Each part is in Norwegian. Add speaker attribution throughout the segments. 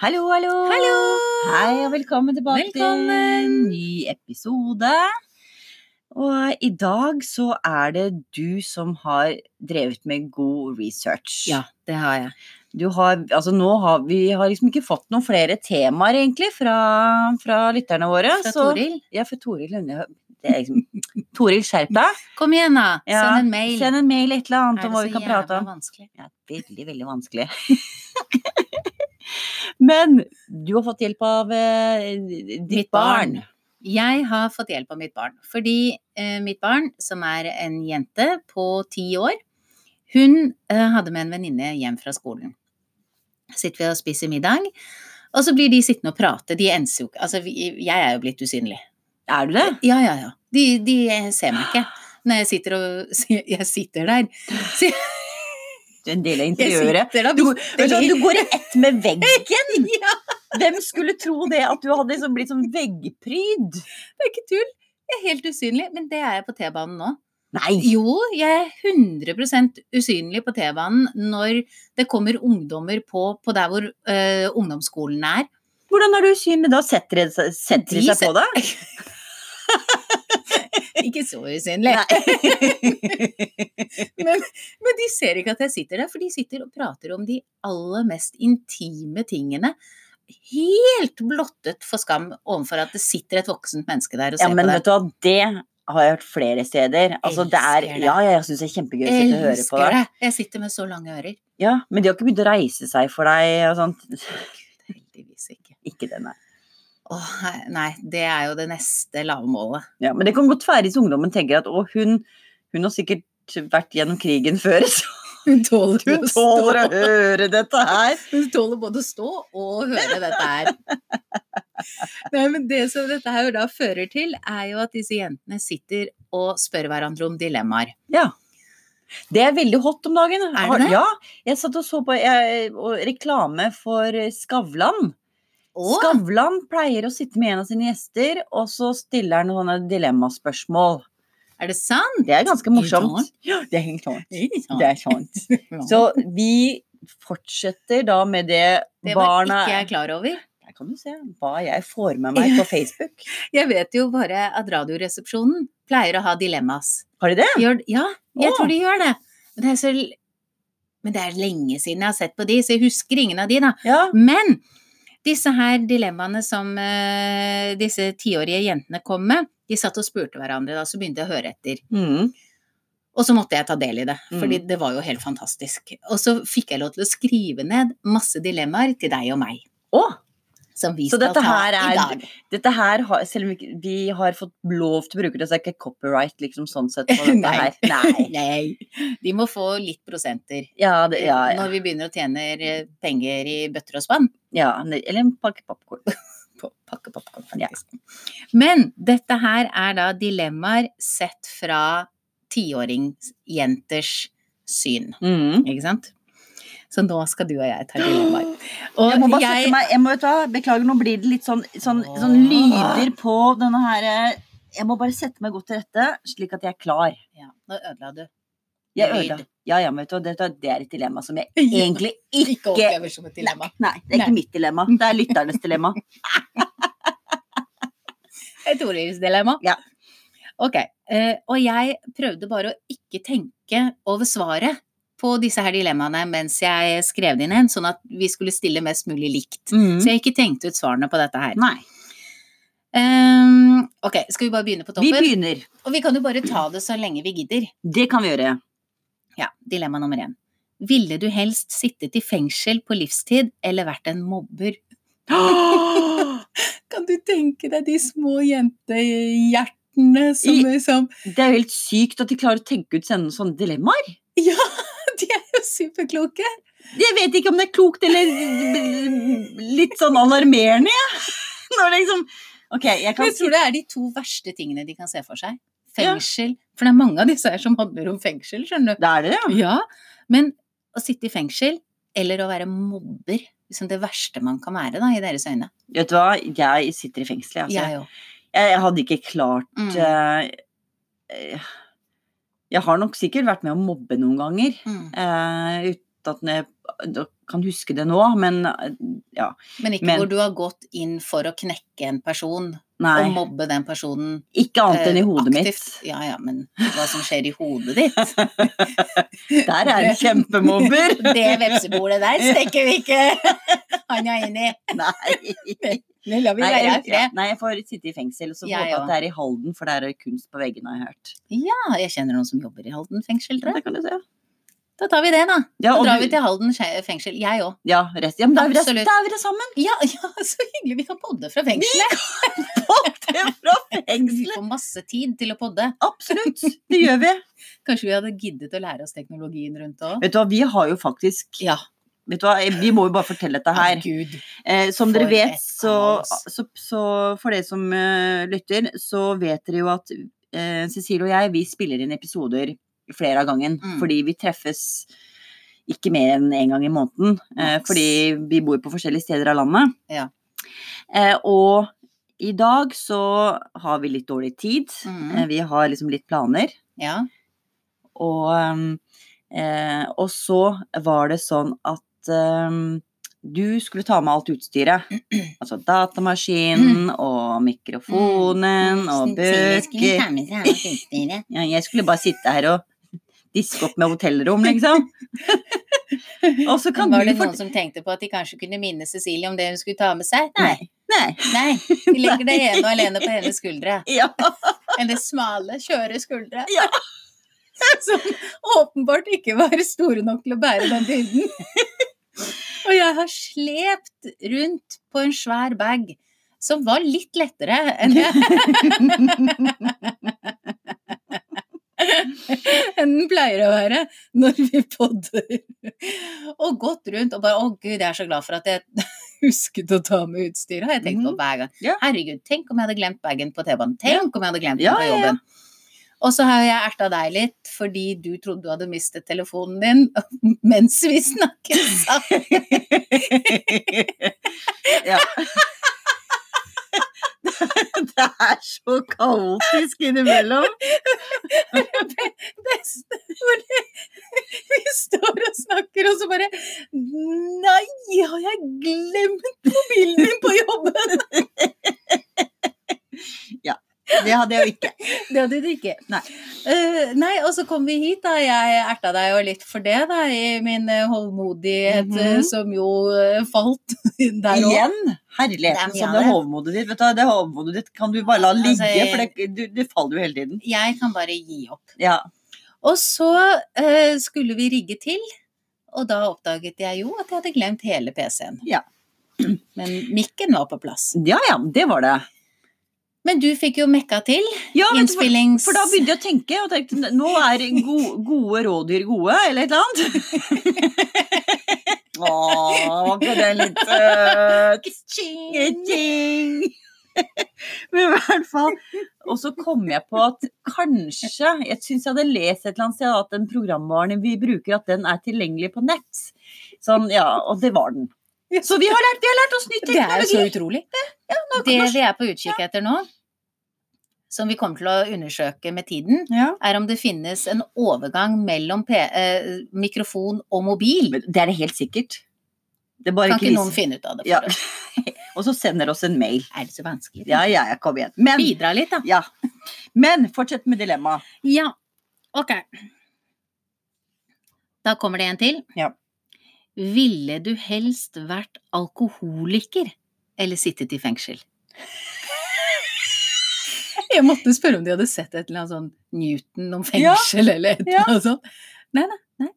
Speaker 1: Hallo, hallo!
Speaker 2: Hallo!
Speaker 1: Hei, og velkommen tilbake til en
Speaker 2: Velkommen!
Speaker 1: ny episode. Og i dag så er det du som har drevet med god research.
Speaker 2: Ja, det har jeg.
Speaker 1: Du har, altså nå har vi har liksom ikke fått noen flere temaer egentlig fra, fra lytterne våre.
Speaker 2: Fra
Speaker 1: så-
Speaker 2: Toril.
Speaker 1: Ja, for Toril hun er- det er liksom, Toril, skjerp deg.
Speaker 2: Kom igjen, da!
Speaker 1: Ja,
Speaker 2: Send en mail.
Speaker 1: Send en mail et eller annet
Speaker 2: Er
Speaker 1: om
Speaker 2: det
Speaker 1: hva
Speaker 2: så
Speaker 1: vi kan
Speaker 2: jævla
Speaker 1: prate om.
Speaker 2: vanskelig?
Speaker 1: Ja, veldig, veldig vanskelig. Men du har fått hjelp av eh, ditt
Speaker 2: Mitt barn.
Speaker 1: barn.
Speaker 2: Jeg har fått hjelp av mitt barn. Fordi eh, mitt barn, som er en jente på ti år, hun eh, hadde med en venninne hjem fra skolen. Sitter vi og spiser middag, og så blir de sittende og prate. De enser jo ikke Altså, vi, jeg er jo blitt usynlig.
Speaker 1: Er du det?
Speaker 2: Ja, ja, ja. De, de ser meg ikke. Når jeg sitter og Jeg sitter der. Så jeg,
Speaker 1: Du er en del av
Speaker 2: jeg
Speaker 1: interiøret.
Speaker 2: sitter da
Speaker 1: Du, vet du, hva,
Speaker 2: vitterlig.
Speaker 1: du går i ett med veggen!
Speaker 2: Ja.
Speaker 1: sånn- Hvem skulle tro det, at du hadde liksom blitt sånn veggpryd?
Speaker 2: Det er ikke tull. Jeg er helt usynlig, men det er jeg på T-banen nå.
Speaker 1: Nei!
Speaker 2: Jo, jeg er 100 usynlig på T-banen når det kommer ungdommer på, på der hvor øh, ungdomsskolen er.
Speaker 1: Hvordan er du usynlig da? Setter de seg, setter de
Speaker 2: De
Speaker 1: seg på deg?
Speaker 2: Ikke så usynlig, men de ser ikke at jeg sitter der, for de sitter og prater om de aller mest intime tingene. Helt blottet for skam overfor at det sitter et voksent menneske der og
Speaker 1: Ja,
Speaker 2: ser
Speaker 1: men
Speaker 2: på
Speaker 1: vet
Speaker 2: deg.
Speaker 1: du hva, det har jeg hørt flere steder. Altså, det er,
Speaker 2: Elsker det.
Speaker 1: ja, ja, jeg syns det er kjempegøy å sitte og høre på
Speaker 2: Elsker
Speaker 1: det.
Speaker 2: det! Jeg sitter med så lange ører.
Speaker 1: Ja, men de har ikke begynt å reise seg for deg og sånt.
Speaker 2: Heldigvis ikke.
Speaker 1: Ikke det, nei.
Speaker 2: Åh, nei, det er jo det neste lavmålet.
Speaker 1: Ja, men det kan godt være hvis ungdommen tenker at å, hun, hun har sikkert vært gjennom krigen før, så
Speaker 2: Hun tåler,
Speaker 1: hun tåler å høre dette her.
Speaker 2: Hun tåler både å stå og høre dette her. Nei, men det som dette her jo da fører til, er jo at disse jentene sitter og spør hverandre om dilemmaer.
Speaker 1: Det er veldig hot om dagen.
Speaker 2: det
Speaker 1: Har-
Speaker 2: det?
Speaker 1: Ja, jeg satt og så på jeg, og reklame for eh, Skavlan.
Speaker 2: Og
Speaker 1: Skavlan pleier å sitte med en av sine gjester, og så stiller han sånne dilemmaspørsmål.
Speaker 2: er det sant?
Speaker 1: Det er ganske morsomt.
Speaker 2: sant?
Speaker 1: Ja, det er helt klart.
Speaker 2: Sånn. Det
Speaker 1: Det er sant. Så vi fortsetter da med det,
Speaker 2: det var
Speaker 1: barna
Speaker 2: ikke jeg klar over.
Speaker 1: Der kan du se hva jeg får med meg på Facebook.
Speaker 2: Jeg vet jo bare at Radioresepsjonen pleier å ha dilemmas.
Speaker 1: Har de det?
Speaker 2: Gjør, ja, jeg
Speaker 1: Å.
Speaker 2: tror de gjør det. Men det, er så, l- men det er lenge siden jeg har sett på de, så jeg husker ingen av de, da.
Speaker 1: Ja.
Speaker 2: Men disse her dilemmaene som eh, disse tiårige jentene kom med, de satt og spurte hverandre, da, så begynte jeg å høre etter.
Speaker 1: Mm.
Speaker 2: Og så måtte jeg ta del i det, fordi
Speaker 1: Mm.
Speaker 2: det var jo helt fantastisk. Og så fikk jeg lov til å skrive ned masse dilemmaer til deg og meg,
Speaker 1: Å,
Speaker 2: som vi
Speaker 1: Så
Speaker 2: skal
Speaker 1: dette
Speaker 2: ta
Speaker 1: her er-
Speaker 2: i dag.
Speaker 1: dette her har, selv om vi, ikke- vi har fått lov til å bruke det, så er det ikke copyright liksom sånn sett på dette
Speaker 2: Nei.
Speaker 1: her. Nei.
Speaker 2: Nei, de må få litt prosenter
Speaker 1: Ja, det, ja, ja.
Speaker 2: når vi begynner å tjene eh, penger i bøtter og spann.
Speaker 1: ja, ne- eller en pakke popkorn.
Speaker 2: på pakke popcorn,
Speaker 1: Ja.
Speaker 2: faktisk. Men dette her er da dilemmaer sett fra tiåringsjenters syn,
Speaker 1: Mm.
Speaker 2: ikke sant? Så nå skal du og jeg ta dilemmaer. Og
Speaker 1: Jeg må bare
Speaker 2: jeg-
Speaker 1: sette meg jeg må, vet du, hva, Beklager, nå blir det litt sånn, sånn, sånn lyder på denne her eh, Jeg må bare sette meg godt til rette, slik at jeg er klar.
Speaker 2: Ja, nå ødela du.
Speaker 1: Jeg
Speaker 2: Lyd.
Speaker 1: ødela. Ja, ja, men vet du, hva, dette- det er et dilemma som jeg
Speaker 2: Ja.
Speaker 1: egentlig
Speaker 2: Ikke
Speaker 1: ikke
Speaker 2: opplever som et dilemma.
Speaker 1: Nei, det er ikke
Speaker 2: Nei.
Speaker 1: mitt dilemma. Det er lytternes dilemma.
Speaker 2: Et ordlivsdilemma.
Speaker 1: Ja.
Speaker 2: Ok, eh, og jeg prøvde bare å ikke tenke over svaret på disse her dilemmaene mens jeg skrev det inn igjen, sånn at vi skulle stille mest mulig likt. Så
Speaker 1: Se-
Speaker 2: jeg ikke tenkte ut svarene på dette her.
Speaker 1: Nei.
Speaker 2: Ehm, ok, skal vi bare begynne på
Speaker 1: Vi
Speaker 2: toppen?
Speaker 1: begynner.
Speaker 2: og vi kan jo bare ta det så lenge vi gidder.
Speaker 1: Det kan vi gjøre.
Speaker 2: Ja, dilemma nummer én. Ville du helst sittet i fengsel på livstid eller vært en mobber? Kan du tenke deg de små jentehjertene
Speaker 1: I-
Speaker 2: liksom
Speaker 1: Det er jo helt sykt at de klarer å tenke ut sånne, sånne dilemmaer.
Speaker 2: Ja, de er jo superkloke!
Speaker 1: Jeg vet ikke om det er klokt eller litt sånn alarmerende, jeg. Når det liksom Ok, jeg kan
Speaker 2: Jeg tror det er de to verste tingene de kan se for seg. Fengsel. For det er mange av disse her som handler om fengsel, skjønner du.
Speaker 1: Da er det det.
Speaker 2: Ja, Men å sitte i fengsel eller å være mobber, liksom det verste man kan være da, i deres øyne.
Speaker 1: Vet du hva, jeg sitter i fengsel, jeg, altså.
Speaker 2: Jeg òg.
Speaker 1: Jeg, jeg hadde ikke klart
Speaker 2: Mm.
Speaker 1: eh, eh, Jeg har nok sikkert vært med å mobbe noen ganger.
Speaker 2: Mm.
Speaker 1: eh, uten at jeg kan huske det nå, men ja.
Speaker 2: Men ikke
Speaker 1: Men-
Speaker 2: hvor du har gått inn for å knekke en person og
Speaker 1: Nei.
Speaker 2: mobbe den personen
Speaker 1: Ikke annet enn i
Speaker 2: eh,
Speaker 1: hodet
Speaker 2: aktivt. Ja ja, men hva som skjer i hodet ditt
Speaker 1: mitt. Der er en kjempemobber!
Speaker 2: Det vepsebordet der stikker vi ikke handa inn i.
Speaker 1: Nei.
Speaker 2: Det lar vi
Speaker 1: Nei,
Speaker 2: være i
Speaker 1: jeg, ja,
Speaker 2: fred.
Speaker 1: nei, jeg får sitte i fengsel, og så får
Speaker 2: Jeg
Speaker 1: jeg håpe
Speaker 2: òg.
Speaker 1: at det er i Halden, for der er det kunst på veggene, har jeg hørt.
Speaker 2: Ja, Ah, jeg kjenner noen som jobber i Halden fengsel.
Speaker 1: Ja,
Speaker 2: tror jeg.
Speaker 1: det kan du se.
Speaker 2: Da tar vi det, da.
Speaker 1: Ja,
Speaker 2: Da
Speaker 1: og
Speaker 2: drar
Speaker 1: du-
Speaker 2: vi til Halden skje- fengsel. Jeg òg.
Speaker 1: Ja, rett. ja men da er, vi det,
Speaker 2: Absolutt.
Speaker 1: da er vi det sammen!
Speaker 2: Ja, ja, så hyggelig. Vi kan podde fra fengselet.
Speaker 1: Hopp det fra
Speaker 2: Vi
Speaker 1: fengselet!
Speaker 2: får masse tid til å podde.
Speaker 1: Absolutt, det gjør vi.
Speaker 2: Kanskje vi hadde giddet å lære oss teknologien rundt òg.
Speaker 1: Vet du hva, vi har jo faktisk
Speaker 2: Ja.
Speaker 1: Vet du hva, vi må jo bare fortelle dette her.
Speaker 2: Gud.
Speaker 1: Eh, som
Speaker 2: For
Speaker 1: dere vet,
Speaker 2: et
Speaker 1: så,
Speaker 2: kaos.
Speaker 1: så, så for dere som eh, lytter, så vet dere jo at eh, Cecilie og jeg, vi spiller inn episoder flere av gangen.
Speaker 2: Mm.
Speaker 1: Fordi vi treffes ikke mer enn én gang i måneden. Eh,
Speaker 2: Maks.
Speaker 1: fordi vi bor på forskjellige steder av landet.
Speaker 2: Ja.
Speaker 1: Eh, og i dag så har vi litt dårlig tid.
Speaker 2: Mhm.
Speaker 1: Eh, vi har liksom litt planer.
Speaker 2: Ja.
Speaker 1: Og, um, eh, og så var det sånn at um, du skulle ta med alt utstyret. Altså datamaskinen og mikrofonen
Speaker 2: Mm.
Speaker 1: og bøker.
Speaker 2: bøker.
Speaker 1: Ja, jeg skulle bare sitte her og diske opp med hotellrom, liksom. Og så kan
Speaker 2: Var
Speaker 1: du
Speaker 2: det noen som tenkte på at de kanskje kunne minne Cecilie om det hun skulle ta med seg? Nei.
Speaker 1: Nei. Nei.
Speaker 2: Nei. De legger det ene og alene på hennes skuldre.
Speaker 1: Ja.
Speaker 2: Hennes smale, skjøre skuldre.
Speaker 1: Ja.
Speaker 2: Som åpenbart ikke var store nok til å bære den byrden. Og jeg har slept rundt på en svær bag som var litt lettere enn jeg- enn den pleier å være når vi podder. Og gått rundt og bare 'Å, gud, jeg er så glad for at jeg husket å ta med utstyret', har jeg tenkt på
Speaker 1: Mhm.
Speaker 2: hver gang.
Speaker 1: Ja.
Speaker 2: Herregud, tenk om jeg hadde glemt bagen på T-banen. Tenk om jeg hadde glemt den
Speaker 1: Ja,
Speaker 2: på
Speaker 1: ja, ja.
Speaker 2: jobben. Og så har jeg erta deg litt fordi du trodde du hadde mistet telefonen din mens vi snakket sammen.
Speaker 1: ja. Det er så kaotisk innimellom.
Speaker 2: Beste, hvor det, vi står og snakker, og så bare Nei, har jeg glemt mobilen min på jobben?
Speaker 1: Det hadde jeg jo ikke.
Speaker 2: Det hadde du ikke.
Speaker 1: Nei.
Speaker 2: Eh, nei, og så kom vi hit, da. Jeg erta deg jo litt for det, da, i min eh, hovmodighet, eh,
Speaker 1: Mhm.
Speaker 2: som jo eh, falt der òg.
Speaker 1: Igjen!
Speaker 2: Det er
Speaker 1: Herligheten
Speaker 2: mye
Speaker 1: som
Speaker 2: av
Speaker 1: det
Speaker 2: det.
Speaker 1: hovmodet ditt. Vet du, hva, det hovmodet ditt kan du bare la
Speaker 2: Altså,
Speaker 1: ligge,
Speaker 2: jeg-
Speaker 1: for det, du, du faller jo hele tiden.
Speaker 2: Jeg kan bare gi opp.
Speaker 1: Ja.
Speaker 2: Og så eh, skulle vi rigge til, og da oppdaget jeg jo at jeg hadde glemt hele PC-en.
Speaker 1: Ja.
Speaker 2: Men mikken var på plass.
Speaker 1: ja ja, det var det.
Speaker 2: Men du fikk jo mekka til.
Speaker 1: Ja, vet du, for,
Speaker 2: Innspillings...
Speaker 1: for da begynte jeg å tenke, og tenkte nå er go, gode rådyr gode, eller et eller annet. Å, var ikke det litt eh, søtt? Ting. Men i hvert fall Og så kom jeg på at kanskje Jeg syns jeg hadde lest et eller annet sted at den programvaren vi bruker, at den er tilgjengelig på nett. Sånn, ja, Og det var den. Så vi har lært, vi har lært oss ny
Speaker 2: Det er jo så
Speaker 1: teknologi.
Speaker 2: utrolig. Det vi er på utkikk etter nå, som vi kommer til å undersøke med tiden,
Speaker 1: Ja.
Speaker 2: er om det finnes en overgang mellom P eh, mikrofon og mobil.
Speaker 1: Men Det er det helt sikkert. Det er bare
Speaker 2: Kan ikke
Speaker 1: ikke
Speaker 2: noen
Speaker 1: vise.
Speaker 2: finne ut av det for
Speaker 1: Ja.
Speaker 2: oss?
Speaker 1: Og så sender oss en mail.
Speaker 2: Er det så vanskelig?
Speaker 1: Ja, ja, ja, kom igjen. Men,
Speaker 2: Bidra litt, da.
Speaker 1: ja. Men fortsett med dilemmaet.
Speaker 2: Ja, ok. Da kommer det en til.
Speaker 1: Ja.
Speaker 2: Ville du helst vært alkoholiker eller sittet i fengsel? Jeg måtte spørre om de hadde sett et eller annet sånn Newton om fengsel eller et eller annet sånt. Nei, nei, nei.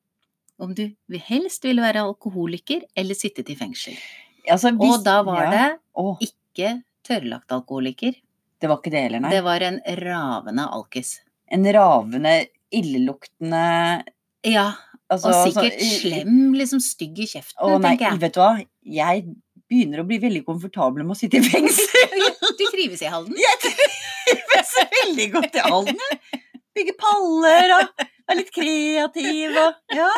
Speaker 2: Om du helst ville være alkoholiker eller sittet i fengsel.
Speaker 1: Altså, hvis-
Speaker 2: Og da var
Speaker 1: ja.
Speaker 2: det
Speaker 1: Å,
Speaker 2: ikke tørrlagt alkoholiker,
Speaker 1: det var ikke det heller, nei.
Speaker 2: det var en ravende alkis.
Speaker 1: En ravende, illeluktende
Speaker 2: Ja,
Speaker 1: altså,
Speaker 2: Og
Speaker 1: altså,
Speaker 2: sikkert
Speaker 1: i-
Speaker 2: slem, liksom stygg i kjeften,
Speaker 1: Å nei,
Speaker 2: tenker jeg.
Speaker 1: vet du hva? Jeg begynner å bli veldig komfortabel med å sitte i fengsel.
Speaker 2: Du trives i Halden?
Speaker 1: Jeg ser veldig godt i Halden. jeg. Bygge paller og være litt kreativ og Ja,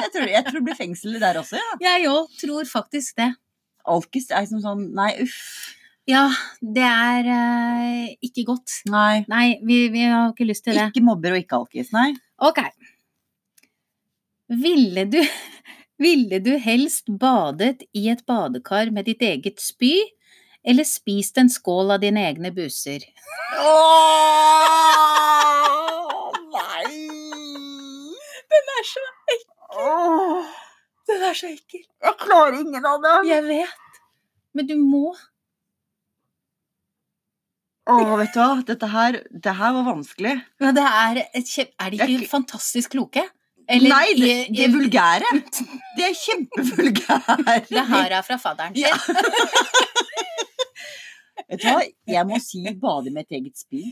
Speaker 1: jeg tror, jeg tror det blir fengsel der også, ja.
Speaker 2: Jeg òg tror faktisk det.
Speaker 1: Alkis er som sånn Nei, uff.
Speaker 2: Ja, det er eh, ikke godt.
Speaker 1: Nei.
Speaker 2: Nei, vi, vi har ikke lyst til det.
Speaker 1: Ikke mobber og ikke alkis, nei.
Speaker 2: Ok. Ville du Ville du helst badet i et badekar med ditt eget spy, eller spist en skål av dine egne buser?
Speaker 1: Åh, nei!
Speaker 2: Den er så,
Speaker 1: Åh,
Speaker 2: den er så ekkel.
Speaker 1: jeg klarer ingen av dem.
Speaker 2: Jeg vet. Men du må.
Speaker 1: Åh, vet du hva? Dette her, det her var vanskelig.
Speaker 2: Men det er, et kjem- er de ikke
Speaker 1: Jeg-
Speaker 2: fantastisk kloke?
Speaker 1: nei, det,
Speaker 2: i-
Speaker 1: det er vulgære. Det er kjempevulgære.
Speaker 2: Det her er fra fadderen sin.
Speaker 1: Ja. Vet du hva? Jeg må si bade med et eget spy.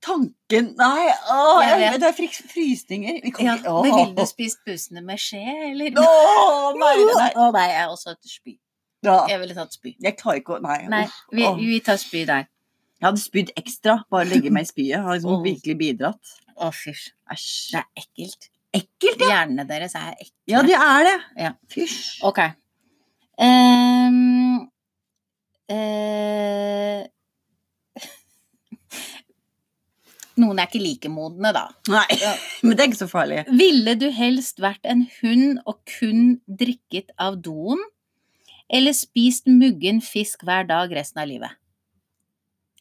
Speaker 1: Tanken Nei, åh,
Speaker 2: Jeg
Speaker 1: jeg
Speaker 2: vet.
Speaker 1: det er frik- frysninger. Vi kan
Speaker 2: Ja,
Speaker 1: ikke-
Speaker 2: men ville du
Speaker 1: åh.
Speaker 2: spist busene med skje, eller?
Speaker 1: Åh, nei, nei.
Speaker 2: Å nei, jeg er også et spy.
Speaker 1: Ja.
Speaker 2: Jeg ville tatt spy.
Speaker 1: Jeg klarer ikke å Nei.
Speaker 2: Nei,
Speaker 1: uff,
Speaker 2: vi,
Speaker 1: åh.
Speaker 2: vi tar spy der.
Speaker 1: Jeg hadde spydd ekstra. Bare legge meg i spyet. Har liksom
Speaker 2: Åh.
Speaker 1: virkelig bidratt.
Speaker 2: Å, fysj.
Speaker 1: Æsj.
Speaker 2: Det er ekkelt.
Speaker 1: Ekkelt, ja.
Speaker 2: Hjernene deres er ekle.
Speaker 1: Ja, det er det.
Speaker 2: Ja.
Speaker 1: Fysj.
Speaker 2: Ok. Ehm, eh, noen er ikke like modne, da.
Speaker 1: Nei,
Speaker 2: Ja.
Speaker 1: men det er ikke så farlig.
Speaker 2: Ville du helst vært en hund og kun drikket av doen, eller spist muggen fisk hver dag resten av livet?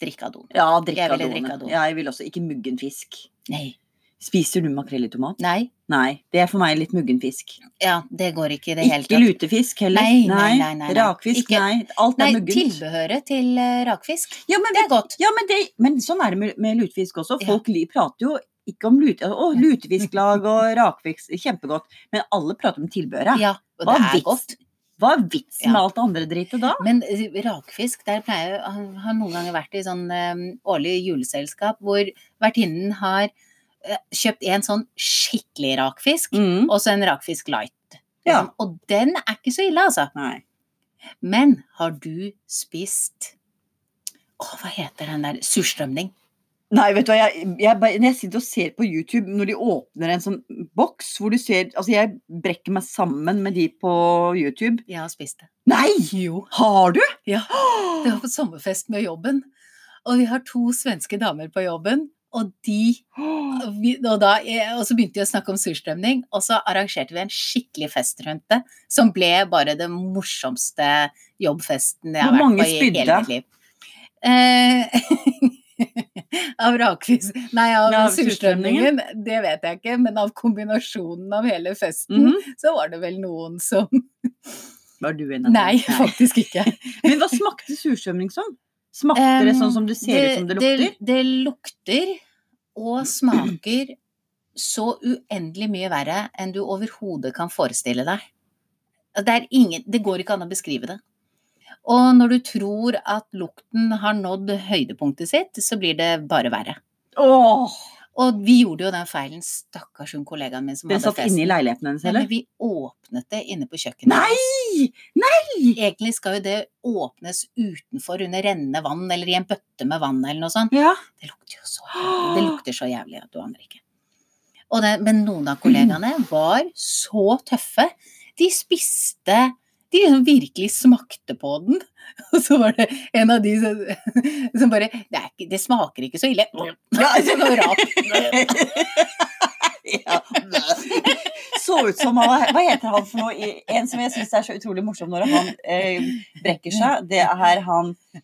Speaker 2: Drikke av doen.
Speaker 1: Ja, drikke
Speaker 2: Jeg
Speaker 1: av
Speaker 2: ville drikke av
Speaker 1: doen.
Speaker 2: doen.
Speaker 1: Ja, jeg vil også. Ikke muggen fisk.
Speaker 2: Nei.
Speaker 1: Spiser du makrell i tomat?
Speaker 2: Nei.
Speaker 1: Nei, det er for meg litt muggen fisk.
Speaker 2: Ja, det går ikke i det hele
Speaker 1: Ikke
Speaker 2: tatt.
Speaker 1: lutefisk heller.
Speaker 2: Nei, nei, nei, nei, nei.
Speaker 1: Rakfisk,
Speaker 2: Ikke-
Speaker 1: nei. Alt
Speaker 2: Nei,
Speaker 1: er muggent.
Speaker 2: tilbehøret til eh, rakfisk.
Speaker 1: Ja, men,
Speaker 2: Det er godt.
Speaker 1: ja, men, det, men sånn er det med, med lutefisk også.
Speaker 2: Ja.
Speaker 1: Folk li- prater jo ikke om lute, å, lutefisklag og rakfisk, kjempegodt. Men alle prater om tilbehøret.
Speaker 2: Ja, og
Speaker 1: Hva
Speaker 2: det
Speaker 1: er
Speaker 2: er godt.
Speaker 1: vits- Hva er vitsen med
Speaker 2: Ja.
Speaker 1: alt det andre drittet da?
Speaker 2: Men eh, rakfisk, der pleier jeg har- Har noen ganger vært i sånn eh, årlig juleselskap hvor vertinnen har eh, kjøpt en sånn skikkelig rakfisk,
Speaker 1: Mm.
Speaker 2: og så en rakfisk light.
Speaker 1: Ja.
Speaker 2: Liksom. Og den er ikke så ille, altså.
Speaker 1: Nei.
Speaker 2: Men har du spist Å, hva heter den der? Surstrømning.
Speaker 1: Nei, vet du hva, jeg, jeg, bare- når jeg sitter og ser på YouTube når de åpner en sånn boks hvor du ser Altså, jeg brekker meg sammen med de på YouTube.
Speaker 2: Jeg har spist det.
Speaker 1: Nei!
Speaker 2: Jo.
Speaker 1: Har du?
Speaker 2: Ja.
Speaker 1: Åh!
Speaker 2: Det var på sommerfest med jobben. Og vi har to svenske damer på jobben, og de
Speaker 1: Åh!
Speaker 2: vi, og, da, eh, og så begynte vi å snakke om surstrømning, og så arrangerte vi en skikkelig fest rundt det, som ble bare den morsomste jobbfesten jeg har
Speaker 1: Hvor
Speaker 2: vært
Speaker 1: mange
Speaker 2: på i hele
Speaker 1: spydde?
Speaker 2: mitt liv. Eh, av rakvis Nei, av
Speaker 1: Nei, av
Speaker 2: surstrømningen, det vet jeg ikke, men av kombinasjonen av hele festen,
Speaker 1: Mhm.
Speaker 2: så var det vel noen som
Speaker 1: Var du en av dem?
Speaker 2: Nei, faktisk ikke.
Speaker 1: Men hva smakte surstrømming som? Smakte det sånn som du ser ut som det lukter?
Speaker 2: Det, det lukter og smaker så uendelig mye verre enn du overhodet kan forestille deg. Det, er ingen, det går ikke an å beskrive det. Og når du tror at lukten har nådd høydepunktet sitt, så blir det bare verre.
Speaker 1: Åh!
Speaker 2: Og vi gjorde jo den feilen, stakkars hun kollegaen min som
Speaker 1: Den
Speaker 2: hadde
Speaker 1: satt inne i leiligheten hennes,
Speaker 2: Nei, men
Speaker 1: eller?
Speaker 2: vi åpnet det inne på kjøkkenet.
Speaker 1: Nei!
Speaker 2: Egentlig skal jo det åpnes utenfor under rennende vann, eller i en bøtte med vann, eller noe sånt.
Speaker 1: Ja.
Speaker 2: Det lukter jo så jævlig. Det lukter så jævlig at du aner ikke. Og det, men noen
Speaker 1: Mm.
Speaker 2: av kollegaene var så tøffe. De spiste De liksom virkelig smakte på den. Og så var det en av de som, som bare det, er ikke, 'Det smaker ikke så ille.'
Speaker 1: Ja,
Speaker 2: Så noe rart.
Speaker 1: ja. Så ut som han Hva heter han for noe? i- En som jeg syns er så utrolig morsom når han eh, brekker seg, det er han eh,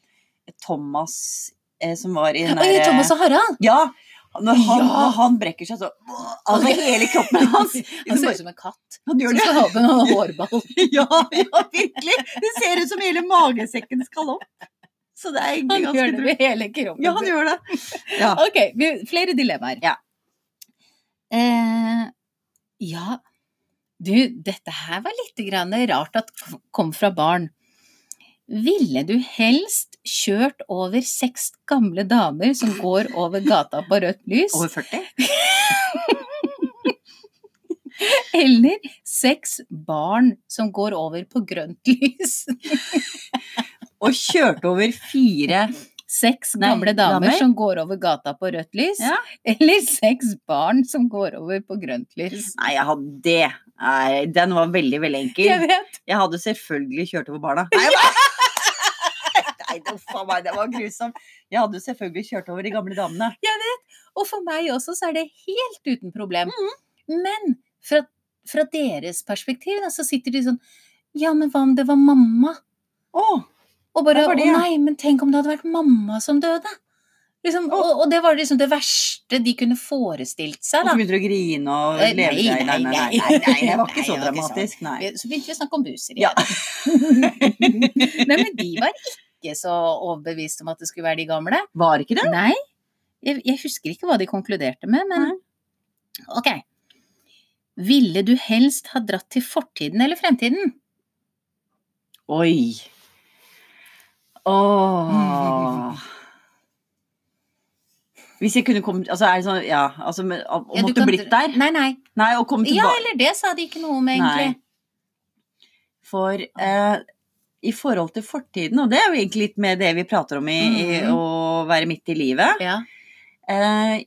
Speaker 1: Thomas eh, som var i den
Speaker 2: Oi,
Speaker 1: der-
Speaker 2: Thomas og Harald!
Speaker 1: Ja! Når han,
Speaker 2: Ja.
Speaker 1: når han brekker seg, så Altså hele kroppen hans
Speaker 2: Han ser ut som en katt
Speaker 1: Han eh, Liksom gjør
Speaker 2: som
Speaker 1: det.
Speaker 2: skal ha på en hårball.
Speaker 1: Ja, ja, virkelig! Det ser ut som hele magesekken skal opp. Så det er egentlig
Speaker 2: Han
Speaker 1: ganske
Speaker 2: gjør det med hele kroppen.
Speaker 1: Ja, han gjør det. Ja.
Speaker 2: Ok, vi, flere dilemmaer.
Speaker 1: Ja.
Speaker 2: Eh, ja, du, dette her var litt grann rart at k- kom fra barn. Ville du helst kjørt over seks gamle damer som går over gata på rødt lys,
Speaker 1: Over 40?
Speaker 2: eller seks barn som går over på grønt lys?
Speaker 1: Og kjørte over fire
Speaker 2: Seks
Speaker 1: Nei,
Speaker 2: gamle damer,
Speaker 1: damer?
Speaker 2: som går over gata på rødt lys,
Speaker 1: Ja.
Speaker 2: eller seks barn som går over på grønt lys?
Speaker 1: Nei, jeg hadde det. Nei, den var veldig, veldig
Speaker 2: Jeg
Speaker 1: enkel.
Speaker 2: vet
Speaker 1: Jeg hadde selvfølgelig kjørt over barna. Nei, hva? Nei, uff a meg, det var grusomt. Jeg hadde selvfølgelig kjørt over de gamle damene. Mm.
Speaker 2: Og for meg også så er det helt uten problem. Men Fra, fra deres perspektiv da, så sitter de sånn Ja, men hva om det var mamma?
Speaker 1: Å!
Speaker 2: Og bare
Speaker 1: Det var
Speaker 2: Å
Speaker 1: det, ja.
Speaker 2: nei, men tenk om det hadde vært mamma som døde! Liksom,
Speaker 1: Å.
Speaker 2: og, og det var liksom det verste de kunne forestilt seg,
Speaker 1: Og
Speaker 2: da.
Speaker 1: så begynte du å grine og
Speaker 2: Eh,
Speaker 1: leve
Speaker 2: nei,
Speaker 1: deg Nei, nei, nei.
Speaker 2: nei,
Speaker 1: nei, nei, Det var ikke så
Speaker 2: nei, det var ikke sånn.
Speaker 1: dramatisk, nei.
Speaker 2: Vi- Så begynte vi å snakke om buser
Speaker 1: Ja.
Speaker 2: igjen. Nei, men de var ikke så overbevist om at det skulle være de gamle.
Speaker 1: Var ikke det?
Speaker 2: Nei. Jeg, jeg husker ikke hva de konkluderte med, men ok. Ville du helst ha dratt til fortiden eller fremtiden?
Speaker 1: Oi. Åh. Hvis jeg kunne kommet Altså, er det sånn Ja, altså men- å, å
Speaker 2: Ja, du
Speaker 1: måtte
Speaker 2: kan
Speaker 1: blitt
Speaker 2: dra-
Speaker 1: der?
Speaker 2: Nei, nei.
Speaker 1: Nei, å komme
Speaker 2: Ja,
Speaker 1: tilbake
Speaker 2: eller det sa de ikke noe om, egentlig.
Speaker 1: For eh, i forhold til fortiden, og det er jo egentlig litt med det vi prater om i, i
Speaker 2: Mhm.
Speaker 1: å være midt i livet
Speaker 2: Ja.
Speaker 1: eh,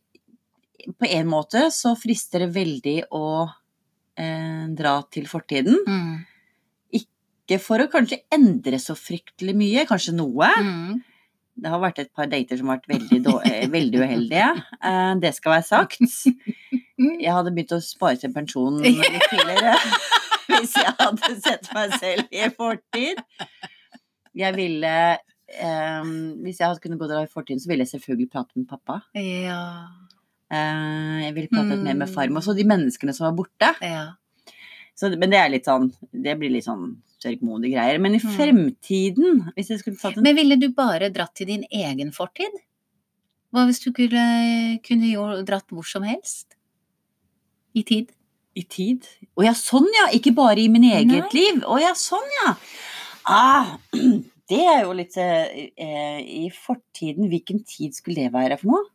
Speaker 1: På en måte så frister det veldig å eh, dra til fortiden.
Speaker 2: Mm.
Speaker 1: Ikke for å kanskje endre så fryktelig mye, kanskje noe.
Speaker 2: Mm.
Speaker 1: Det har vært et par dater som har vært veldig, dår- eh, veldig uheldige. Eh, det skal være sagt. Jeg hadde begynt å spare til pensjon litt tidligere hvis jeg hadde sett meg selv i fortid. Jeg ville eh, Hvis jeg hadde kunnet gå der i fortiden, så ville jeg selvfølgelig prate med pappa.
Speaker 2: Ja.
Speaker 1: Eh, jeg ville pratet mer med
Speaker 2: Mm.
Speaker 1: farmor. Og så de menneskene som var borte.
Speaker 2: ja.
Speaker 1: Så, det- men det er litt sånn Det blir litt sånn sørgmodige greier. Men i
Speaker 2: Mm.
Speaker 1: fremtiden, hvis jeg skulle tatt en
Speaker 2: Men ville du bare dratt til din egen fortid? Hva hvis du kunne, kunne jo dratt hvor som helst? I tid?
Speaker 1: I tid? Å ja, sånn ja! Ikke bare i min eget
Speaker 2: Nei.
Speaker 1: liv. Å ja, sånn ja! Ah, det er jo litt eh, eh, I fortiden, hvilken tid skulle det være for noe?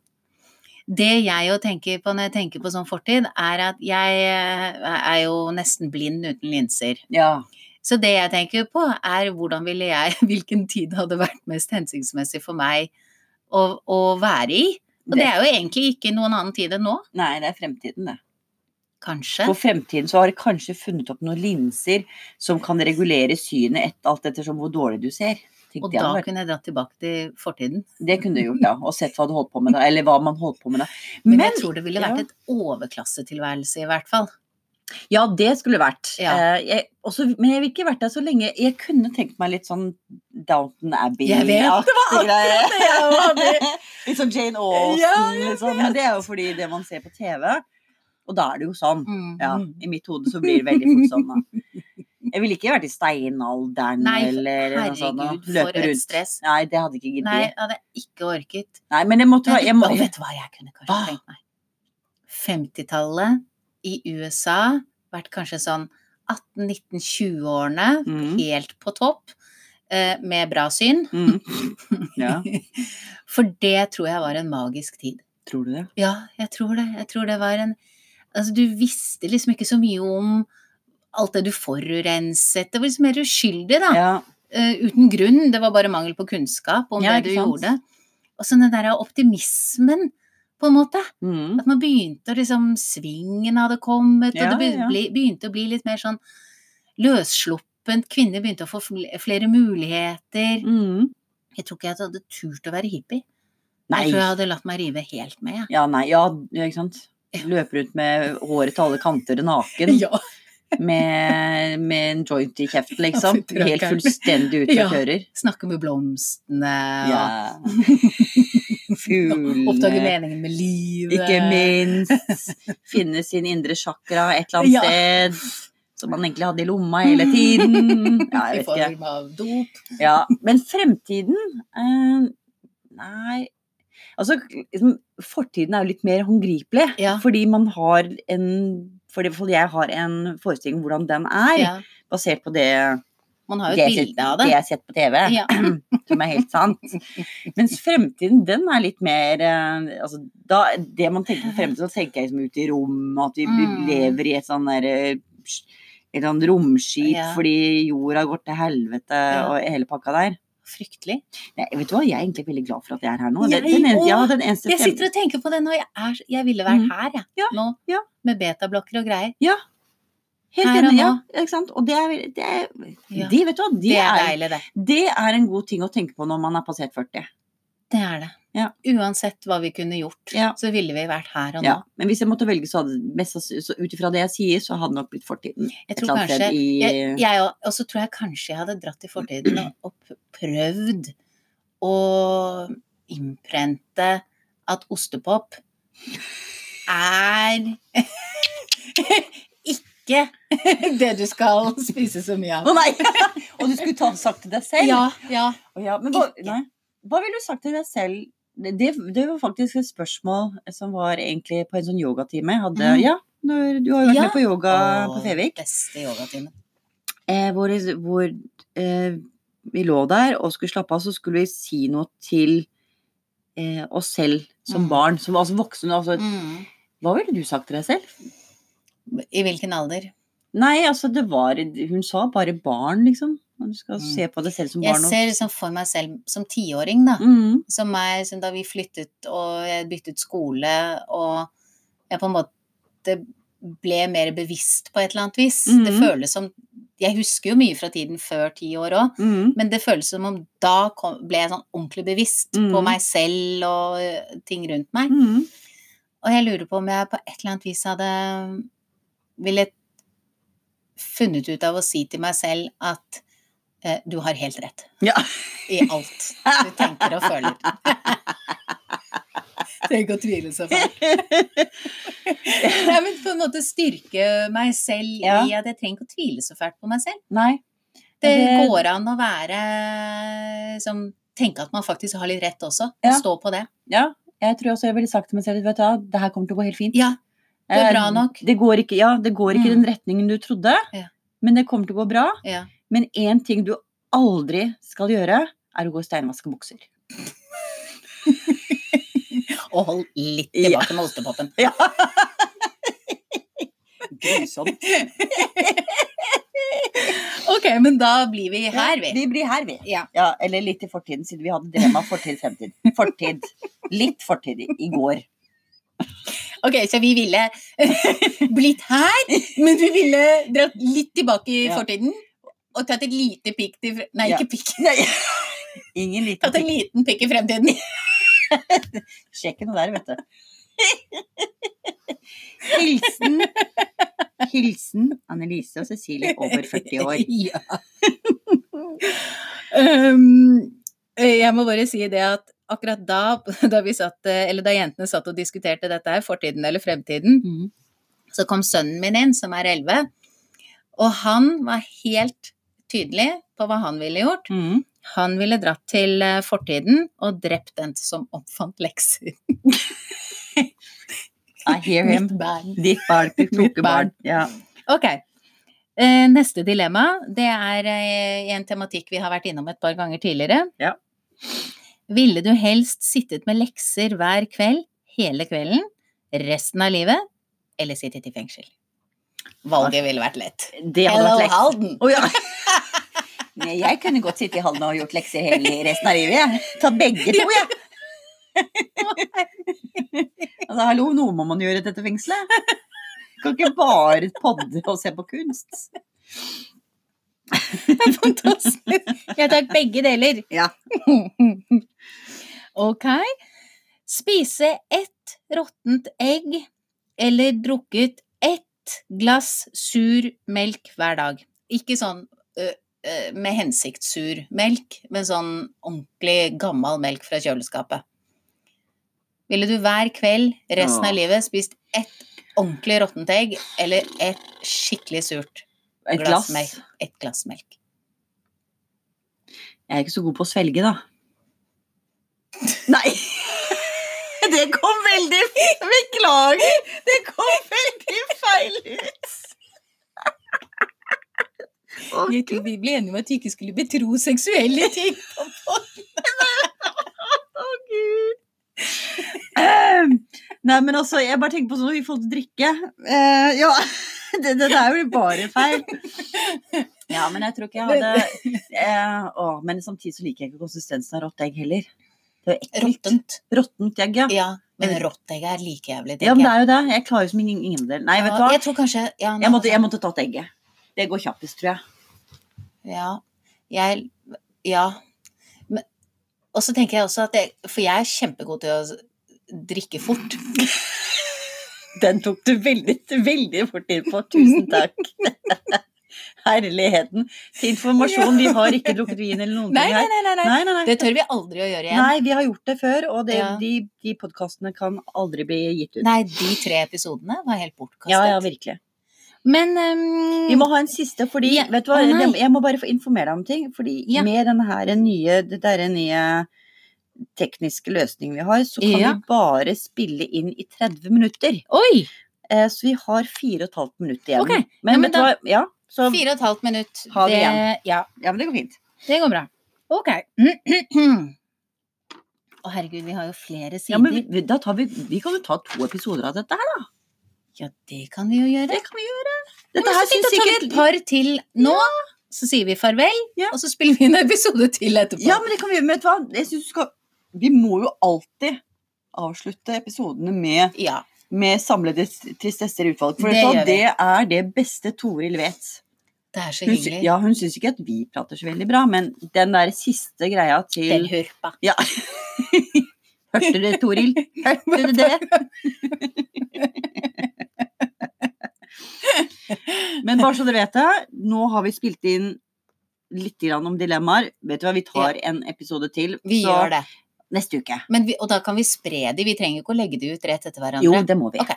Speaker 2: Det jeg jo tenker på når jeg tenker på sånn fortid, er at jeg eh, er jo nesten blind uten linser.
Speaker 1: Ja.
Speaker 2: Så det jeg tenker på er hvordan ville jeg, hvilken tid hadde vært mest hensiktsmessig for meg å, å være i? Og det er jo egentlig ikke noen annen tid enn nå,
Speaker 1: Nei, det er fremtiden, det.
Speaker 2: kanskje.
Speaker 1: For fremtiden så har de kanskje funnet opp noen linser som kan regulere synet et, alt ettersom hvor dårlig du ser.
Speaker 2: Og
Speaker 1: Tenkte jeg
Speaker 2: da
Speaker 1: hadde vært-
Speaker 2: kunne jeg dratt tilbake til fortiden.
Speaker 1: Det kunne du gjort, da. Og sett hva du holdt på med da. Eller hva man holdt på med da.
Speaker 2: Men, jeg tror det ville
Speaker 1: ja.
Speaker 2: vært et overklassetilværelse, i hvert fall.
Speaker 1: Ja, det skulle det vært.
Speaker 2: Ja.
Speaker 1: Eh, jeg, også, men jeg vil ikke vært der så lenge. Jeg kunne tenkt meg litt sånn Downton
Speaker 2: Jeg vet, det
Speaker 1: Abbey-aktig greie. Litt sånn Jane Austen,
Speaker 2: Ja, jeg
Speaker 1: litt sånn. Men det er jo fordi det man ser på TV. Og da er det jo sånn.
Speaker 2: Mm.
Speaker 1: Ja, I mitt hode så blir det veldig fort sånn, da. Jeg ville ikke vært i steinalderen
Speaker 2: Nei, for-
Speaker 1: eller noe sånt. da.
Speaker 2: herregud, for
Speaker 1: Løpe
Speaker 2: et
Speaker 1: rundt.
Speaker 2: stress.
Speaker 1: Nei, det hadde ikke
Speaker 2: Nei,
Speaker 1: giddet.
Speaker 2: jeg hadde ikke orket.
Speaker 1: Nei, men jeg måtte
Speaker 2: Men
Speaker 1: ha jeg må,
Speaker 2: å, vet du hva jeg kunne kanskje
Speaker 1: Hva?
Speaker 2: tenkt meg? 50-tallet i USA, vært kanskje sånn 18-19-20-årene,
Speaker 1: Mm.
Speaker 2: helt på topp, eh, med bra syn.
Speaker 1: mm. Ja,
Speaker 2: For det tror jeg var en magisk tid.
Speaker 1: tror du det?
Speaker 2: Ja, jeg tror det. Jeg tror det var en Altså, du visste liksom ikke så mye om alt det du forurenset. Det var liksom mer uskyldig, da.
Speaker 1: Ja.
Speaker 2: eh, uten grunn. Det var bare mangel på kunnskap om
Speaker 1: Ja,
Speaker 2: det du
Speaker 1: ikke sant?
Speaker 2: gjorde. Og så den derre optimismen, på en måte.
Speaker 1: Mm.
Speaker 2: At man begynte å liksom Svingen hadde kommet,
Speaker 1: Ja,
Speaker 2: og det be-
Speaker 1: ja.
Speaker 2: ble, begynte å bli litt mer sånn løssluppent. Kvinner begynte å få fl- flere muligheter.
Speaker 1: Mm.
Speaker 2: Jeg tror ikke jeg hadde turt å være hippie.
Speaker 1: Nei.
Speaker 2: Jeg tror jeg hadde latt meg rive helt med. jeg.
Speaker 1: Ja, nei, ja, ja, ikke sant. Løper rundt med håret til alle kanter naken, med, med en joint i kjeften, liksom.
Speaker 2: fytti
Speaker 1: Helt
Speaker 2: rakkeren.
Speaker 1: fullstendig ute
Speaker 2: Ja.
Speaker 1: og kjører.
Speaker 2: Snakke med blomstene,
Speaker 1: Ja.
Speaker 2: og oppdage
Speaker 1: Fuglene,
Speaker 2: meningen med livet.
Speaker 1: ikke minst. Finne sin indre sjakra et eller
Speaker 2: Ja. Mm.
Speaker 1: annet sted. Som man egentlig hadde i lomma hele tiden. Ja,
Speaker 2: I
Speaker 1: jeg vet ikke.
Speaker 2: form av dop.
Speaker 1: Ja, men fremtiden eh, Nei. Altså, liksom, fortiden er jo litt mer håndgripelig.
Speaker 2: Ja.
Speaker 1: Fordi man har en Fordi fordi jeg har en forestilling om hvordan den er,
Speaker 2: Ja.
Speaker 1: basert på det,
Speaker 2: Man har
Speaker 1: det,
Speaker 2: jo et
Speaker 1: jeg,
Speaker 2: bilde
Speaker 1: ser-
Speaker 2: av
Speaker 1: det
Speaker 2: det.
Speaker 1: jeg har sett på TV,
Speaker 2: Ja.
Speaker 1: som er helt sant. Mens fremtiden, den er litt mer eh, altså, da, Det man tenker på fremtiden, så tenker jeg liksom ut i rommet, at vi
Speaker 2: Mm.
Speaker 1: lever i et sånn derre Et sånn romskip
Speaker 2: Ja.
Speaker 1: fordi jorda går til helvete
Speaker 2: Ja.
Speaker 1: og hele pakka der.
Speaker 2: Fryktelig.
Speaker 1: Nei, vet du hva, jeg er egentlig veldig glad for at jeg er her nå.
Speaker 2: Jeg
Speaker 1: Den, den, en-
Speaker 2: òg.
Speaker 1: ja, den eneste
Speaker 2: Jeg sitter og tenker på det nå. Jeg, er, jeg ville vært
Speaker 1: Mm.
Speaker 2: her, jeg.
Speaker 1: Ja,
Speaker 2: Nå.
Speaker 1: ja.
Speaker 2: Med betablokker og greier.
Speaker 1: Helt
Speaker 2: her og
Speaker 1: enig,
Speaker 2: nå.
Speaker 1: ja. Ikke sant? Og det er, det er
Speaker 2: Ja.
Speaker 1: de, vet du hva, de
Speaker 2: Det er
Speaker 1: er,
Speaker 2: deilig, det.
Speaker 1: det er en god ting å tenke på når man er passert 40.
Speaker 2: Det er det.
Speaker 1: Ja.
Speaker 2: Uansett hva vi kunne gjort,
Speaker 1: Ja.
Speaker 2: så ville vi vært her og nå.
Speaker 1: Ja, men hvis jeg måtte velge, så hadde mest sanns- så ut ifra det jeg sier, så hadde det nok blitt fortiden.
Speaker 2: Jeg
Speaker 1: Et
Speaker 2: tror
Speaker 1: eller annet
Speaker 2: kanskje
Speaker 1: sted i
Speaker 2: jeg, jeg, og- Og så tror jeg kanskje jeg hadde dratt i fortiden og, og p- prøvd å innprente at ostepop er ikke det du skal spise så mye
Speaker 1: Å
Speaker 2: av.
Speaker 1: nei! Og du skulle ta, sagt til deg selv?
Speaker 2: Ja, ja.
Speaker 1: Å ja, men hva,
Speaker 2: Ikke.
Speaker 1: nei. hva ville du sagt til deg selv? Det, det det var faktisk et spørsmål som var egentlig på en sånn yogatime. jeg Hadde,
Speaker 2: Mhm.
Speaker 1: Ja, når, du har jo vært
Speaker 2: Ja.
Speaker 1: med på yoga på
Speaker 2: Åh,
Speaker 1: Fevik.
Speaker 2: Beste yogatimen.
Speaker 1: Eh, hvor hvor eh, vi lå der og skulle slappe av, så skulle vi si noe til eh, oss selv som
Speaker 2: Mhm.
Speaker 1: barn. Som, altså voksne. Altså,
Speaker 2: Mm.
Speaker 1: Hva ville du sagt til deg selv?
Speaker 2: I hvilken alder?
Speaker 1: Nei, altså det var Hun sa bare barn, liksom. Man skal
Speaker 2: Mm.
Speaker 1: se på det selv som
Speaker 2: Jeg
Speaker 1: barn. og-
Speaker 2: ser liksom for meg selv som tiåring, da.
Speaker 1: Mm.
Speaker 2: som meg som da vi flyttet og jeg byttet skole og jeg på en måte ble mer bevisst på et eller annet vis. Det
Speaker 1: Mhm.
Speaker 2: føles som Jeg husker jo mye fra tiden før ti år òg,
Speaker 1: Mm.
Speaker 2: men det føles som om da kom, ble jeg sånn ordentlig bevisst på
Speaker 1: Mhm.
Speaker 2: meg selv og eh, ting rundt meg.
Speaker 1: Mm.
Speaker 2: Og jeg lurer på om jeg på et eller annet vis hadde eh, ville funnet ut av å si til meg selv at eh, du har helt rett
Speaker 1: Ja.
Speaker 2: i alt du tenker og føler. Trenger ikke å tvile så fælt. Nei, men på en måte styrke meg selv
Speaker 1: Ja.
Speaker 2: i at jeg trenger ikke å tvile så fælt på meg selv.
Speaker 1: Nei.
Speaker 2: Det
Speaker 1: Det-
Speaker 2: går an å være som Tenke at man faktisk har litt rett også, og
Speaker 1: Ja.
Speaker 2: stå på det.
Speaker 1: Ja, jeg tror også jeg ville sagt til meg selv vet du hva, det her kommer til å gå helt fint.
Speaker 2: Ja, det er
Speaker 1: Eh,
Speaker 2: bra nok.
Speaker 1: Det går ikke, ja, det går ikke i
Speaker 2: Mm.
Speaker 1: den retningen du trodde,
Speaker 2: Ja.
Speaker 1: men det kommer til å gå bra.
Speaker 2: Ja.
Speaker 1: Men én ting du aldri skal gjøre, er å gå og steinvaske bukser.
Speaker 2: Og hold litt
Speaker 1: Ja.
Speaker 2: tilbake med ostepopen.
Speaker 1: Ja. Grusomt.
Speaker 2: Ok, men da blir vi her, vi.
Speaker 1: Vi blir her, vi.
Speaker 2: Ja.
Speaker 1: Ja, eller litt i fortiden, siden vi hadde dilemma fortid, fremtid. Fortid. Litt fortid i- i går.
Speaker 2: Ok, så vi ville blitt her, men vi ville dratt litt tilbake i
Speaker 1: Ja.
Speaker 2: fortiden. Og tatt et lite pikk til fre- Nei,
Speaker 1: Ja.
Speaker 2: ikke pikk.
Speaker 1: Nei. Ingen liten
Speaker 2: Tatt en liten pikk i fremtiden.
Speaker 1: Sjekk noe der, vet du. Hilsen Hilsen Annelise og Cecilie over 40 år.
Speaker 2: Ja. um, jeg må bare si det at akkurat da, da, vi satt, eller da jentene satt og diskuterte dette her, fortiden eller fremtiden,
Speaker 1: Mm.
Speaker 2: så kom sønnen min inn, som er 11, og han var helt tydelig på hva han ville gjort.
Speaker 1: Mm.
Speaker 2: Han ville dratt til eh, fortiden og drept den som oppfant lekser.
Speaker 1: I hear him.
Speaker 2: Mitt barn.
Speaker 1: Ditt barn, ditt kloke barn. Ja.
Speaker 2: Ok. Eh, Neste dilemma, det er eh, en tematikk vi har vært innom et par ganger tidligere.
Speaker 1: Ja.
Speaker 2: Ville du helst sittet med lekser hver kveld, hele kvelden, resten av livet, eller sittet i fengsel? Valget ville vært lett.
Speaker 1: Det hadde vært lekt.
Speaker 2: Halden!
Speaker 1: Å, ja. Nei, jeg kunne godt sitte i hallen og gjort lekser hele resten av livet. jeg. Ta begge to, jeg. Altså, hallo, noe må man gjøre i dette fengselet. Kan ikke bare podde og se på kunst.
Speaker 2: Fantastisk. Jeg tar begge deler.
Speaker 1: Ja.
Speaker 2: ok. Spise ett råttent egg eller drukket ett glass sur melk hver dag. Ikke sånn ø, ø, med hensikt sur melk, men sånn ordentlig gammel melk fra kjøleskapet. Ville du hver kveld resten av
Speaker 1: Åh.
Speaker 2: livet spist ett ordentlig råttent egg eller et skikkelig surt
Speaker 1: Et glass.
Speaker 2: melk? Et glass melk.
Speaker 1: Jeg er ikke så god på å svelge, da. Nei! Det kom veldig Beklager! Det kom veldig feil ut. Og
Speaker 2: Jeg tror vi ble enige om at vi ikke skulle betro seksuelle ting.
Speaker 1: Å, gud. Ehm, Nei, men altså, jeg bare tenker på sånn i forhold til drikke. Eh, ja, det, det, det er jo bare feil. Ja, men jeg tror ikke jeg hadde eh, å, Men samtidig så liker jeg ikke konsistensen av rått egg heller. Det er jo ekkelt.
Speaker 2: Råttent.
Speaker 1: Råttent egg, ja.
Speaker 2: Ja, men rått egg er like jævlig.
Speaker 1: Ja, men det
Speaker 2: tenker jeg.
Speaker 1: er jo det. Jeg klarer jo som ingen, ingen del. Nei, vet du hva.
Speaker 2: Ja, Jeg tror kanskje ja, nei,
Speaker 1: Jeg måtte, jeg måtte tatt egget. Det går kjappest, tror jeg.
Speaker 2: Ja. Jeg Ja. Men, Og så tenker jeg også at jeg, For jeg er kjempegod til å drikke fort.
Speaker 1: Den tok du veldig, veldig fort inn på. Tusen takk. Herligheten. Til informasjon, vi har ikke drukket vin eller noen
Speaker 2: Nei,
Speaker 1: ting
Speaker 2: nei,
Speaker 1: her.
Speaker 2: nei, nei, nei.
Speaker 1: Nei, nei, nei.
Speaker 2: Det tør vi aldri å gjøre igjen.
Speaker 1: Nei, vi har gjort det før, og det,
Speaker 2: Ja.
Speaker 1: de, de podkastene kan aldri bli gitt ut.
Speaker 2: Nei, de tre episodene var helt bortkastet.
Speaker 1: Ja, ja, virkelig.
Speaker 2: Men ehm,
Speaker 1: Vi må ha en siste, fordi
Speaker 2: Ja.
Speaker 1: vet du hva,
Speaker 2: Å, nei.
Speaker 1: jeg, jeg må bare få informere deg om ting. Fordi
Speaker 2: Ja.
Speaker 1: med denne her nye, dette her nye tekniske løsningen vi har, så kan
Speaker 2: Ja.
Speaker 1: vi bare spille inn i 30 minutter.
Speaker 2: ehm, Oi!
Speaker 1: Eh, så vi har 4 15 minutter igjen.
Speaker 2: Ok, ja,
Speaker 1: Men,
Speaker 2: men
Speaker 1: vet du
Speaker 2: da-
Speaker 1: hva, ja, så,
Speaker 2: Fire og et halvt minutt.
Speaker 1: Ha det
Speaker 2: igjen. Ja,
Speaker 1: ja, men det går fint.
Speaker 2: det går bra. Ok. Å herregud, vi har jo flere sider.
Speaker 1: Ja, men vi, vi- da tar vi, vi kan jo ta to episoder av dette her, da.
Speaker 2: Ja, det kan vi jo gjøre.
Speaker 1: Det kan vi gjøre.
Speaker 2: Ja,
Speaker 1: Dette
Speaker 2: men så
Speaker 1: her
Speaker 2: fint
Speaker 1: syns
Speaker 2: å ta et
Speaker 1: sikkert
Speaker 2: par til nå, så sier vi farvel,
Speaker 1: Ja.
Speaker 2: og så spiller vi en episode til etterpå.
Speaker 1: Ja, men det kan vi men Vet du hva, jeg synes du skal Vi må jo alltid avslutte episodene med
Speaker 2: Ja,
Speaker 1: med samlede tristesser i utvalg. For
Speaker 2: Det
Speaker 1: det,
Speaker 2: gjør vi.
Speaker 1: det er det beste Toril vet.
Speaker 2: det er så
Speaker 1: Hun, sy-
Speaker 2: hyggelig.
Speaker 1: ja, hun syns ikke at vi prater så veldig bra, men den der siste greia
Speaker 2: Den
Speaker 1: til
Speaker 2: hørpa.
Speaker 1: Ja. Hørte du det, Toril? Hørte du det? Men bare så dere vet det, nå har vi spilt inn litt grann om dilemmaer. Vet du hva, vi tar en episode til
Speaker 2: Vi
Speaker 1: så
Speaker 2: gjør det.
Speaker 1: neste uke.
Speaker 2: Men vi, og da kan vi spre de, vi trenger ikke å legge de ut rett etter hverandre.
Speaker 1: Jo, det må vi.
Speaker 2: Ok.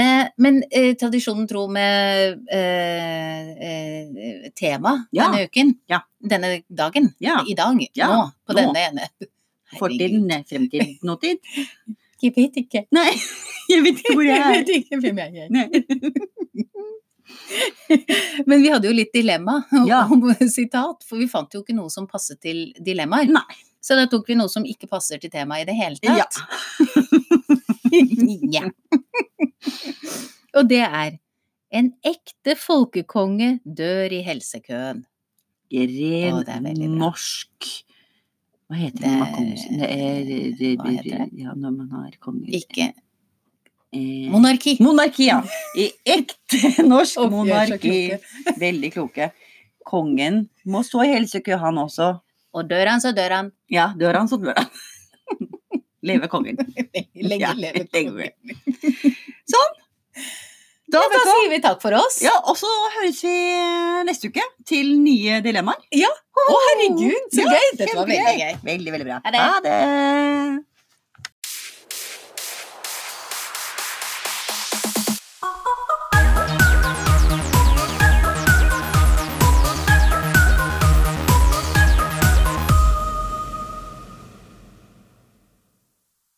Speaker 2: Eh, men eh, tradisjonen tro med eh, eh, tema
Speaker 1: Ja.
Speaker 2: denne uken,
Speaker 1: Ja.
Speaker 2: denne dagen,
Speaker 1: Ja.
Speaker 2: i dag,
Speaker 1: Ja,
Speaker 2: nå, på
Speaker 1: nå.
Speaker 2: denne ene. Herregud.
Speaker 1: Fortiden, fremtid, nåtid.
Speaker 2: Jeg vet ikke.
Speaker 1: Nei, jeg vet ikke hvor jeg
Speaker 2: Jeg
Speaker 1: er.
Speaker 2: vet ikke hvem jeg er.
Speaker 1: Nei.
Speaker 2: Men vi hadde jo litt dilemma
Speaker 1: Ja.
Speaker 2: om sitat, for vi fant jo ikke noe som passet til dilemmaer.
Speaker 1: Nei.
Speaker 2: Så da tok vi noe som ikke passer til temaet i det hele
Speaker 1: Ja.
Speaker 2: tatt. Ja. Og det er En ekte folkekonge dør i helsekøen.
Speaker 1: Ren
Speaker 2: Å, det er veldig bra.
Speaker 1: norsk Hva heter det
Speaker 2: Det-
Speaker 1: når man er konge? Det er det-
Speaker 2: Hva heter det?
Speaker 1: Ja, når man har konge
Speaker 2: Ikke
Speaker 1: Eh,
Speaker 2: monarki.
Speaker 1: Monarki, ja. I ekte norsk
Speaker 2: Å, vi er så
Speaker 1: monarki.
Speaker 2: kloke.
Speaker 1: Veldig kloke. Kongen må stå i helsekø, han også.
Speaker 2: Og dør han, så dør han.
Speaker 1: Ja, dør han, så dør han. Leve kongen.
Speaker 2: Lenge
Speaker 1: Ja,
Speaker 2: leve
Speaker 1: lenge
Speaker 2: kongen.
Speaker 1: Da,
Speaker 2: Ja, Da
Speaker 1: vet du, hva.
Speaker 2: sier vi takk for oss.
Speaker 1: ja, og så høres vi neste uke til nye dilemmaer.
Speaker 2: Å, herregud, så
Speaker 1: Ja,
Speaker 2: gøy! Dette var
Speaker 1: Kjempegøy.
Speaker 2: veldig gøy.
Speaker 1: Veldig, veldig bra.
Speaker 2: Ha det.
Speaker 1: det.